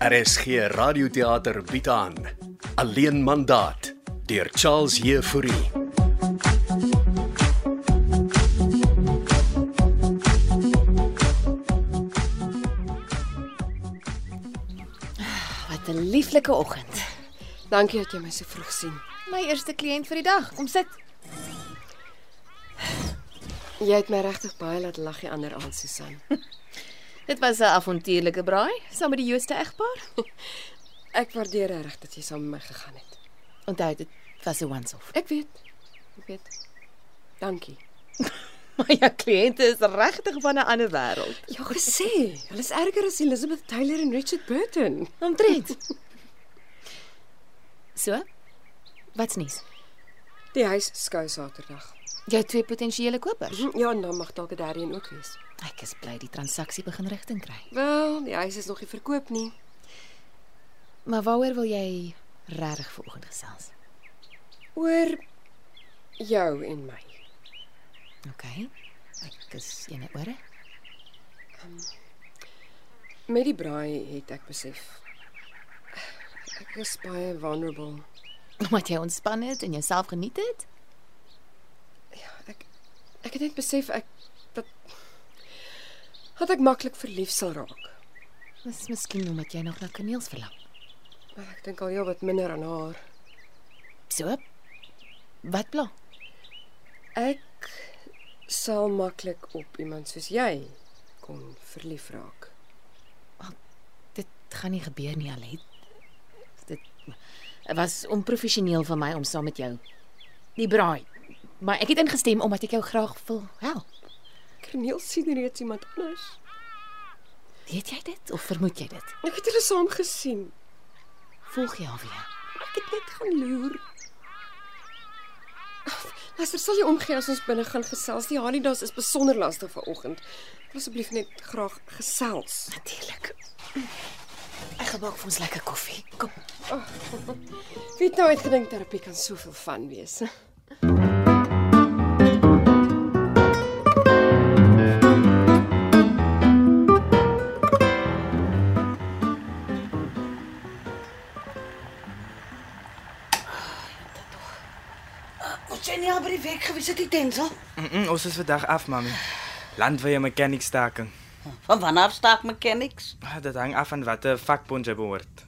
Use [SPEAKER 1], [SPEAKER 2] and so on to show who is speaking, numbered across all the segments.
[SPEAKER 1] RSG Radioteater bied aan Alleen mandaat deur Charles Jefouri.
[SPEAKER 2] Wat 'n lieflike oggend.
[SPEAKER 3] Dankie dat jy my so vroeg sien.
[SPEAKER 2] My eerste kliënt vir die dag. Kom sit.
[SPEAKER 3] Jy het my regtig baie laat lag die ander aand, Susan.
[SPEAKER 2] Dit was 'n avontuurlike braai saam met die Jooste egpaar.
[SPEAKER 3] Ek waardeer regtig dat jy saam met my gegaan het.
[SPEAKER 2] Onthou dit was 'n once-off.
[SPEAKER 3] Ek weet. Ek weet. Dankie.
[SPEAKER 2] Maar jou kliënte is regtig van 'n ander wêreld.
[SPEAKER 3] Ja, gesê. Hulle is erger as Elizabeth Taylor en Richard Burton.
[SPEAKER 2] Omtrent. so? Wat's nuus?
[SPEAKER 3] Die huis skou Saterdag.
[SPEAKER 2] Jou twee potensiële kopers.
[SPEAKER 3] Hm, Ja, en dan mag dalk 'n derde een ook wees.
[SPEAKER 2] Ek is bly die transaksie begin rigting kry.
[SPEAKER 3] Wel, die huis is nog nie verkoop nie.
[SPEAKER 2] Maar waaroor wil jy regtig vanoggend gesels?
[SPEAKER 3] Oor jou en my.
[SPEAKER 2] OK. Ek is eene ore.
[SPEAKER 3] Met die braai het ek besef ek is baie vulnerable.
[SPEAKER 2] Omdat jy ontspan het en jouself geniet het?
[SPEAKER 3] Ek ek het net besef ek dat dat ek maklik verlief sal raak.
[SPEAKER 2] Dis miskien omdat jy nog na kaneels verlang.
[SPEAKER 3] Maar ek dink al heel wat minder aan haar.
[SPEAKER 2] So. Wat pla?
[SPEAKER 3] Ek sal maklik op iemand soos jy kon verlief raak.
[SPEAKER 2] Dit gaan nie gebeur nie, Alet. Dit was onprofessioneel van my om saam met jou die braai. Maar ek het ingestem omdat ek jou graag wil help.
[SPEAKER 3] Kerneel sien reeds iemand anders.
[SPEAKER 2] Weet jy dit of vermoed jy dit?
[SPEAKER 3] Ek het hulle saam gesien.
[SPEAKER 2] Volg jy haar weer?
[SPEAKER 3] Ek het net gaan loer. Ag, Luister, sal jy omgee as ons binne gaan gesels? Die Hanidas is besonder lastig vanoggend. Ek wil Asseblief net graag gesels.
[SPEAKER 2] Natuurlik. Ek gaan maak vir ons lekker koffie. Kom.
[SPEAKER 3] Wie het nou uitgedink terapie kan soveel van wees?
[SPEAKER 4] Ons sien ja by die werk gewees het die tensel.
[SPEAKER 5] Mm -mm, ons is vandag af, mami. Landwyse mekanikstaking.
[SPEAKER 4] Van wanneer staak mechanics?
[SPEAKER 5] Ah, Dit hang af van watter vakbond jy behoort.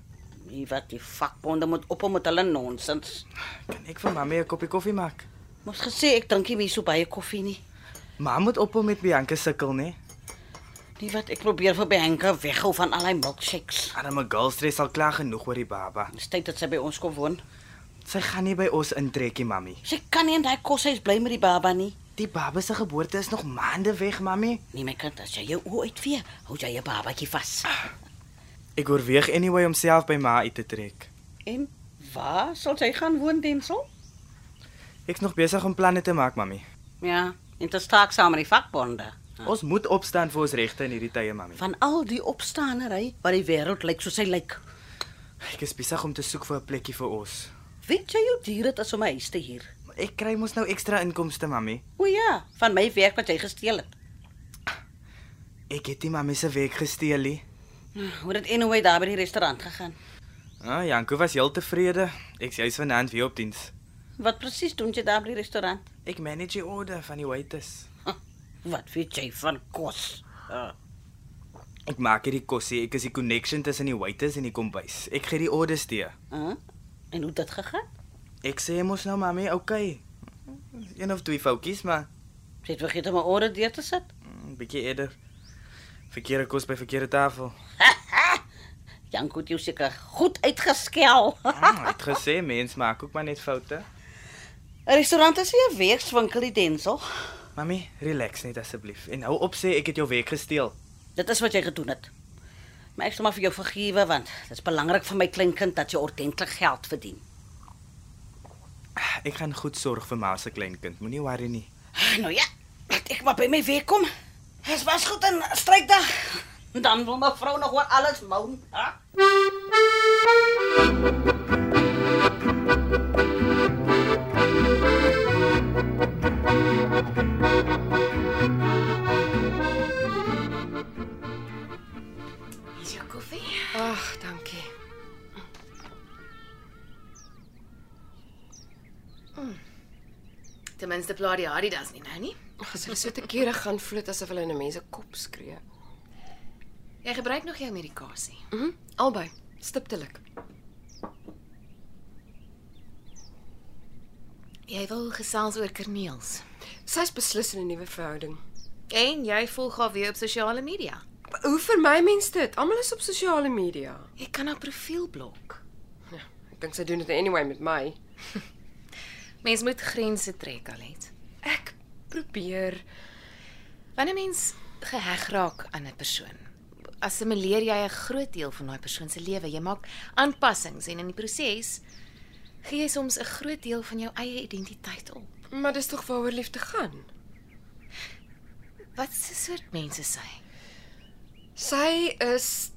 [SPEAKER 4] Nee, wat die vakbonde moet op met hulle nonsens.
[SPEAKER 5] Kan ek vir mami 'n koppie koffie maak?
[SPEAKER 4] Moes gesê ek drink nie meer so baie koffie nie.
[SPEAKER 5] Ma moet ophou met Bianca sukkel, né?
[SPEAKER 4] Nie wat ek probeer vir Bianca weghou van al haar milkshakes.
[SPEAKER 5] Arme girl stres al klaar genoeg oor die baba.
[SPEAKER 4] Dis tyd dat sy by ons kom woon.
[SPEAKER 5] Sy gaan nie by ons intrekkie, mami.
[SPEAKER 4] Sy kan nie in daai koshuis bly met die baba nie.
[SPEAKER 5] Die baba se geboorte is nog maande weg, mami.
[SPEAKER 4] Nee my kind, as jy jou oë uitvee, hou jy jou babatjie vas.
[SPEAKER 5] Ek oorweeg anyway om self by ma uit te trek.
[SPEAKER 4] En waar sal sy gaan woon, Densel?
[SPEAKER 5] Ek's nog besig om planne te maak, mami.
[SPEAKER 4] Ja, en dit staak saam met die vakbonde.
[SPEAKER 5] Ons moet opstaan vir ons regte in hierdie tye, mami.
[SPEAKER 4] Van al die opstaanery wat die wêreld lyk soos hy lyk.
[SPEAKER 5] Ek is besig om te soek vir 'n plekkie vir ons.
[SPEAKER 4] Weet jy hoe duur dit is om 'n huis te huur?
[SPEAKER 5] Maar Ek kry mos nou ekstra inkomste, mami.
[SPEAKER 4] O ja, van my werk wat jy gesteel het.
[SPEAKER 5] Ek het nie mami se werk gesteel nie.
[SPEAKER 4] Hoe het dit anyway daar by die restaurant gegaan?
[SPEAKER 5] Ah, Janko was heel tevrede. Ek's juis vanaand weer op diens.
[SPEAKER 4] Wat presies doen jy daar by die restaurant?
[SPEAKER 5] Ek manage die order van die waiters.
[SPEAKER 4] Huh, Wat weet jy van kos? Uh,
[SPEAKER 5] Ek maak hierdie kosse. Ek is die connection tussen die waiters en die kombuis. Ek gee die orders tee.
[SPEAKER 4] uh, en hoe het dit gegaan?
[SPEAKER 5] Ek sê mos nou mami, okay. Een of twee foutjies, maar
[SPEAKER 4] Jy het vergeet om 'n order deur te sit.
[SPEAKER 5] mm, 'n bietjie eerder. Verkeerde kos by verkeerde tafel.
[SPEAKER 4] Janko het jou seker goed uitgeskel. 'n
[SPEAKER 5] Mm, het gesê mens maak ook maar net foute.
[SPEAKER 4] Restaurant is nie 'n weegswinkel, die Densel.
[SPEAKER 5] Mami, relax net asseblief. En hou op sê ek het jou werk gesteel.
[SPEAKER 4] Dit is wat jy gedoen het. Maar ek sal maar vir jou vergewe want dit is belangrik vir my kleinkind dat jy ordentlik geld verdien.
[SPEAKER 5] Ah, Ek gaan goed sorg vir ma se kleinkind. Moenie worry nie.
[SPEAKER 4] Nou ja, laat ek maar by my weer kom. Dit was goed en strykdag. Dan wil mevrou nog oor alles moun, hè?
[SPEAKER 2] Is jou koffie?
[SPEAKER 3] Ag, dankie.
[SPEAKER 2] Ten minste pla die Adidas nie nou nie.
[SPEAKER 3] Ag, as hulle so te kere gaan voel dit asof hulle in 'n mens se kop skree.
[SPEAKER 2] Jy gebruik nog jou medikasie.
[SPEAKER 3] Mhm. Albei, stiptelik.
[SPEAKER 2] Jy wil gesels oor Kerneels.
[SPEAKER 3] Sy's beslis in 'n nuwe verhouding.
[SPEAKER 2] En jy volg haar weer op sosiale media.
[SPEAKER 3] Maar Hoe vir my mense dit? Almal is op sosiale media.
[SPEAKER 2] Jy kan haar profiel blok.
[SPEAKER 3] Ja, ek dink sy doen dit anyway met my.
[SPEAKER 2] Mens moet grense trek, Alet.
[SPEAKER 3] Ek probeer.
[SPEAKER 2] Wanneer mens geheg raak aan 'n persoon, assimileer jy 'n groot deel van daai persoon se lewe. Jy maak aanpassings en in die proses gee jy soms 'n groot deel van jou eie identiteit op.
[SPEAKER 3] Maar dis tog waaroor liefde gaan.
[SPEAKER 2] Wat 'n soort mense is sy?
[SPEAKER 3] Sy is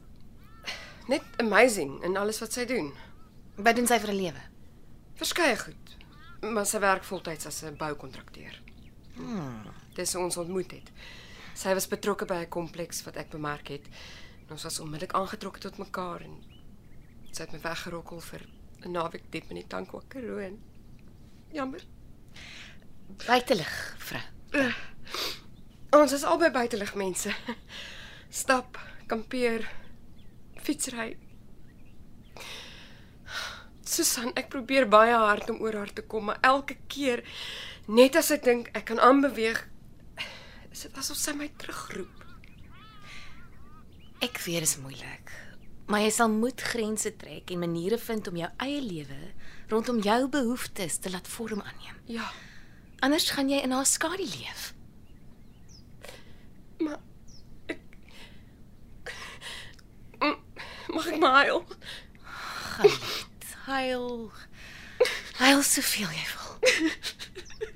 [SPEAKER 3] net amazing in alles wat sy doen.
[SPEAKER 2] Wat doen sy vir 'n lewe?
[SPEAKER 3] Verskeie goed. Maar sy werk voltyds as 'n boukontrakteur. Hmm. Dis hoe ons ontmoet het. Sy was betrokke by 'n kompleks wat ek bemerk het. En ons was onmiddellik aangetrokke tot mekaar en sy het my weggerokkel vir 'n naweek diep in die Tankwa Karoo. Jammer.
[SPEAKER 2] Buitelig, vrou.
[SPEAKER 3] Ons is albei buitelug mense. Stap, kampeer, fietsry. Susan, ek probeer baie hard om oor haar te kom, maar elke keer net as ek dink ek kan aanbeweeg, is dit asof sy my terugroep.
[SPEAKER 2] Ek weet dit is moeilik, maar jy sal moet grense trek en maniere vind om jou eie lewe rondom jou behoeftes te laat vorm aanneem.
[SPEAKER 3] Ja,
[SPEAKER 2] Anders gaan jy in haar skadu leef.
[SPEAKER 3] maar ek M- mag ek maar huil.
[SPEAKER 2] Galit, huil. Huil soveel jy wil.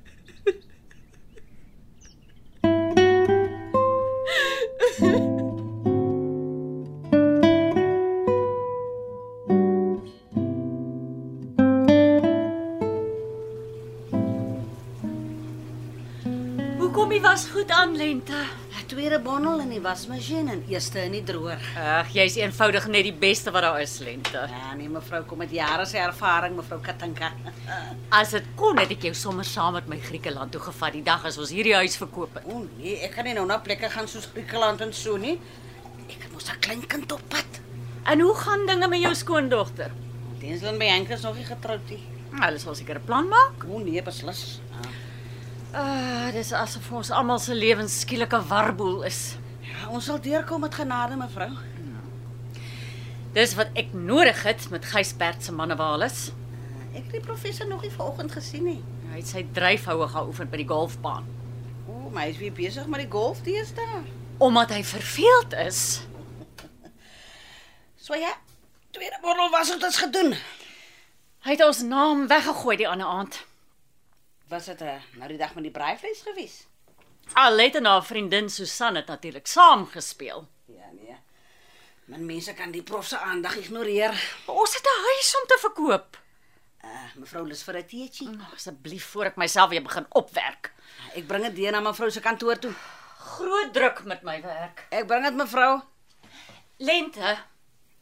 [SPEAKER 4] Hoe kom jy was goed aan lente? 'n Tweede bondel in die wasmasjien en eerste in die droër.
[SPEAKER 6] Ag, jy's eenvoudig net die beste wat daar is, Lente.
[SPEAKER 4] Ja, nee mevrou, kom met jare se ervaring mevrou Katinka.
[SPEAKER 6] As dit kon, het ek jou sommer saam met my Griekeland toe gevat die dag as ons hierdie huis verkoop het.
[SPEAKER 4] O nee, ek kan nie nou na plekke gaan soos Griekeland en so nie. Ek het mos 'n klein kind op pad.
[SPEAKER 6] En hoe gaan dinge met jou skoondogter?
[SPEAKER 4] Denslyn by Henk is nog nie getroud nie.
[SPEAKER 6] Hulle sal seker 'n plan maak.
[SPEAKER 4] O nee, beslis. Ah.
[SPEAKER 6] Ah, dis asof ons almal se lewens skielik 'n warboel is.
[SPEAKER 4] Ja, ons sal deurkom met genade mevrou.
[SPEAKER 6] Dis wat ek nodig het met Gysbert se mannewalis.
[SPEAKER 4] Ek het die professor nog nie vanoggend gesien nie.
[SPEAKER 6] Hy het sy dryfhoue geoefen by die golfbaan.
[SPEAKER 4] O, maar hy is weer besig met die golf deesdae.
[SPEAKER 6] Omdat hy verveeld is.
[SPEAKER 4] So ja, tweede bottel was dit ons gedoen.
[SPEAKER 6] Hy het ons naam weggegooi die ander aand.
[SPEAKER 4] Was dit 'n nou die dag met die braaivleis gewees?
[SPEAKER 6] Alet en haar vriendin Susan het natuurlik saam gespeel.
[SPEAKER 4] Ja nee. Man mense kan die prof se aandag ignoreer.
[SPEAKER 6] Ons het 'n huis om te verkoop.
[SPEAKER 4] Uh, mevrou Lus vir 'n teetjie.
[SPEAKER 6] Nou, Asseblief voor ek myself weer begin opwerk.
[SPEAKER 4] Ek bring dit deur na mevrou se kantoor toe.
[SPEAKER 6] Groot druk met my werk.
[SPEAKER 4] Ek bring dit mevrou.
[SPEAKER 6] Lente,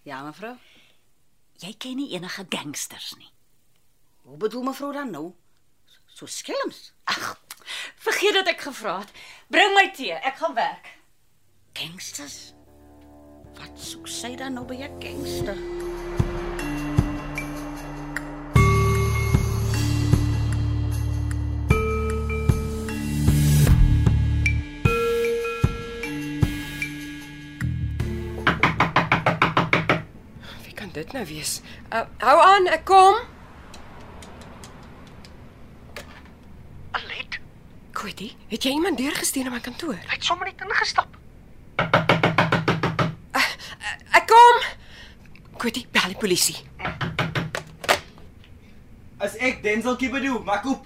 [SPEAKER 4] Ja mevrou.
[SPEAKER 6] jy ken nie enige gangsters nie.
[SPEAKER 4] Hoe bedoel mevrou dan nou? So skelms.
[SPEAKER 6] Ag, vergeet dat ek gevra het. Bring my tee, ek gaan werk.
[SPEAKER 4] Gangsters. Wat soek sy dan nou by 'n gangster?
[SPEAKER 3] Wie kan dit nou wees? Uh, hou aan, ek kom.
[SPEAKER 7] Alet,
[SPEAKER 3] Goedie, het jy iemand deurgestuur na my kantoor?
[SPEAKER 7] hy het sommer net ingestap.
[SPEAKER 3] Uh, Ek kom. Goedie, bel die polisie.
[SPEAKER 5] As ek Denzel Kibedu, maak op.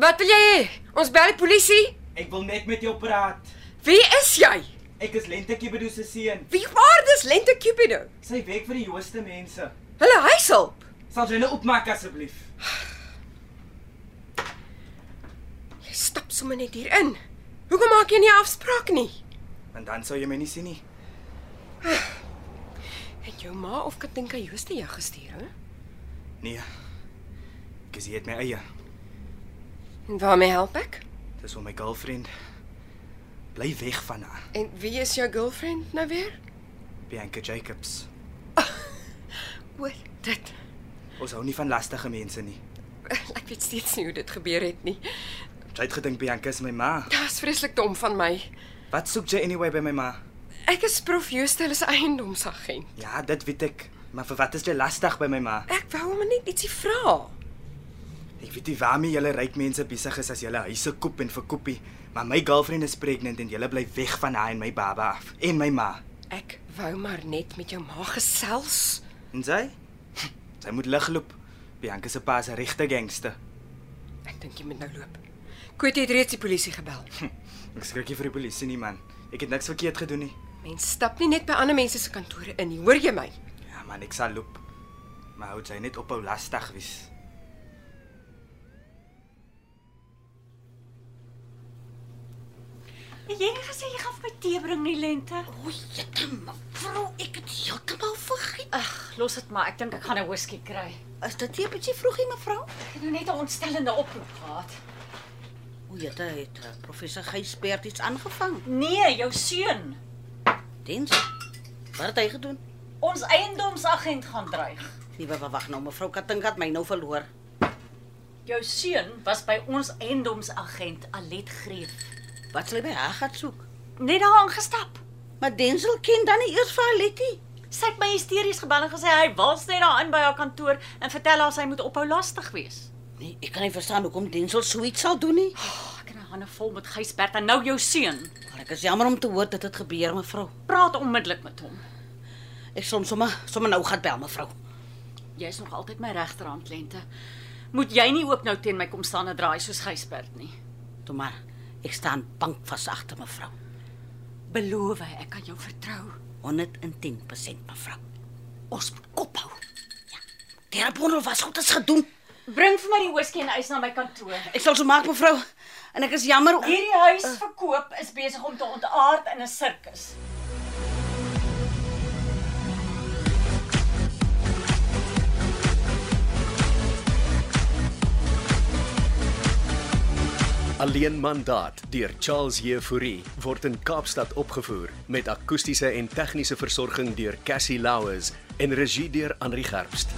[SPEAKER 3] Wat wil jy hê? Ons bel die polisie?
[SPEAKER 5] Ek wil net met jou praat.
[SPEAKER 3] Wie is jy?
[SPEAKER 5] Ek is Lente Kibedu se seun.
[SPEAKER 3] Wie waar dis Lente Cupido?
[SPEAKER 5] Sy werk vir die hoogste mense.
[SPEAKER 3] Hulle huishulp.
[SPEAKER 5] Sal jy hulle opmaak asseblief?
[SPEAKER 3] Jy stap sommer net hier in. Hoekom maak jy nie 'n afspraak nie?
[SPEAKER 5] Want dan sou jy my nie sien nie.
[SPEAKER 3] Het jou ma of Katinka Jooste jou gestuur, hè?
[SPEAKER 5] Nee. Ek is hier met my eie.
[SPEAKER 3] En waarmee help ek?
[SPEAKER 5] Dis om my girlfriend. Bly weg van haar.
[SPEAKER 3] En wie is jou girlfriend nou weer?
[SPEAKER 5] Bianca Jacobs.
[SPEAKER 3] Oor dit.
[SPEAKER 5] Ons hou nie van lastige mense nie.
[SPEAKER 3] Ek weet steeds nie hoe dit gebeur het nie.
[SPEAKER 5] Sy het gedink Bianca is my ma.
[SPEAKER 3] Dit is vreeslik dom van my.
[SPEAKER 5] Wat soek jy anyway by my ma?
[SPEAKER 3] Ek is prof Justel se eiendomsagent.
[SPEAKER 5] Ja, dit weet ek. Maar vir wat is jy lastig by my ma?
[SPEAKER 3] Ek wou hom net ietsie vra.
[SPEAKER 5] Ek weet nie waarmee julle ryk mense besig is as julle huise koop en verkoopie, maar my girlfriend is pregnant en julle bly weg van haar en my baba af en my ma.
[SPEAKER 3] Ek wou maar net met jou ma gesels.
[SPEAKER 5] En sy? Sy moet ligloop. Bianca se pa is 'n regte gangster.
[SPEAKER 3] Ek dink jy moet nou loop. Koet het reeds die polisie gebel.
[SPEAKER 5] Ek skrik nie vir die polisie nie man. Ek het niks verkeerd gedoen nie.
[SPEAKER 3] Mens stap nie net by ander mense se kantore in nie, hoor jy my?
[SPEAKER 5] Ja man, ek sal loop. Maar hou sy net ophou lastig wees.
[SPEAKER 6] Het jy nie gesê jy gaan vir my tee bring nie, Lente?
[SPEAKER 4] O, jette mevrou, ek het heeltemal vergeet.
[SPEAKER 6] Ag, los dit maar. Ek dink ek gaan 'n whisky kry.
[SPEAKER 4] Is dit nie 'n bietjie vroegie mevrou?
[SPEAKER 6] Ek het nou net 'n ontstellende oproep gehad.
[SPEAKER 4] O, jette het eh, professor Gysbert iets aangevang.
[SPEAKER 6] Nee, jou seun.
[SPEAKER 4] Diens. Wat het hy gedoen?
[SPEAKER 6] Ons eiendomsagent gaan dreig.
[SPEAKER 4] Nee, wa- wa- wag nou, mevrou Katink het my nou verloor.
[SPEAKER 6] Jou seun was by ons eiendomsagent Alet Greef.
[SPEAKER 4] Wat sal hy by haar gaan soek?
[SPEAKER 6] Net daar aangestap.
[SPEAKER 4] Maar Denzel ken dan nie eers vir haar Letty.
[SPEAKER 6] Sy het my hysteries gebel en gesê hy wals net daar in by haar kantoor en vertel haar sy moet ophou lastig wees.
[SPEAKER 4] Nee, ek kan nie verstaan hoekom Denzel so iets sal doen nie.
[SPEAKER 6] Ag, ek het nou hande vol met Gysbert en nou jou seun.
[SPEAKER 4] Maar ek is jammer om te hoor dat dit gebeur, mevrou.
[SPEAKER 6] Praat onmiddellik met hom.
[SPEAKER 4] Ek sal hom sommer sommer nou gaan bel, mevrou.
[SPEAKER 6] Jy's nog altyd my regterhand lente. Moet jy nie ook nou teen my kom staan en draai soos Gysbert nie.
[SPEAKER 4] Toe maar. Ek staan bankvas agter mevrou.
[SPEAKER 6] Beloof ek kan jou vertrou.
[SPEAKER 4] 110% mevrou.
[SPEAKER 6] Ons moet kop hou.
[SPEAKER 4] Teraponder was Ja. goed as gedoen.
[SPEAKER 6] Bring vir my die whisky en ys na my kantoor.
[SPEAKER 4] Ek sal so maak mevrou. En ek is jammer. om-
[SPEAKER 6] Hierdie huis verkoop is besig om te ontaard in 'n sirkus.
[SPEAKER 1] Alleen mandaat deur Charles Jefouri word in Kaapstad opgevoer met akoestiese en tegniese versorging deur Cassie Louws en regie deur Henri Gerst.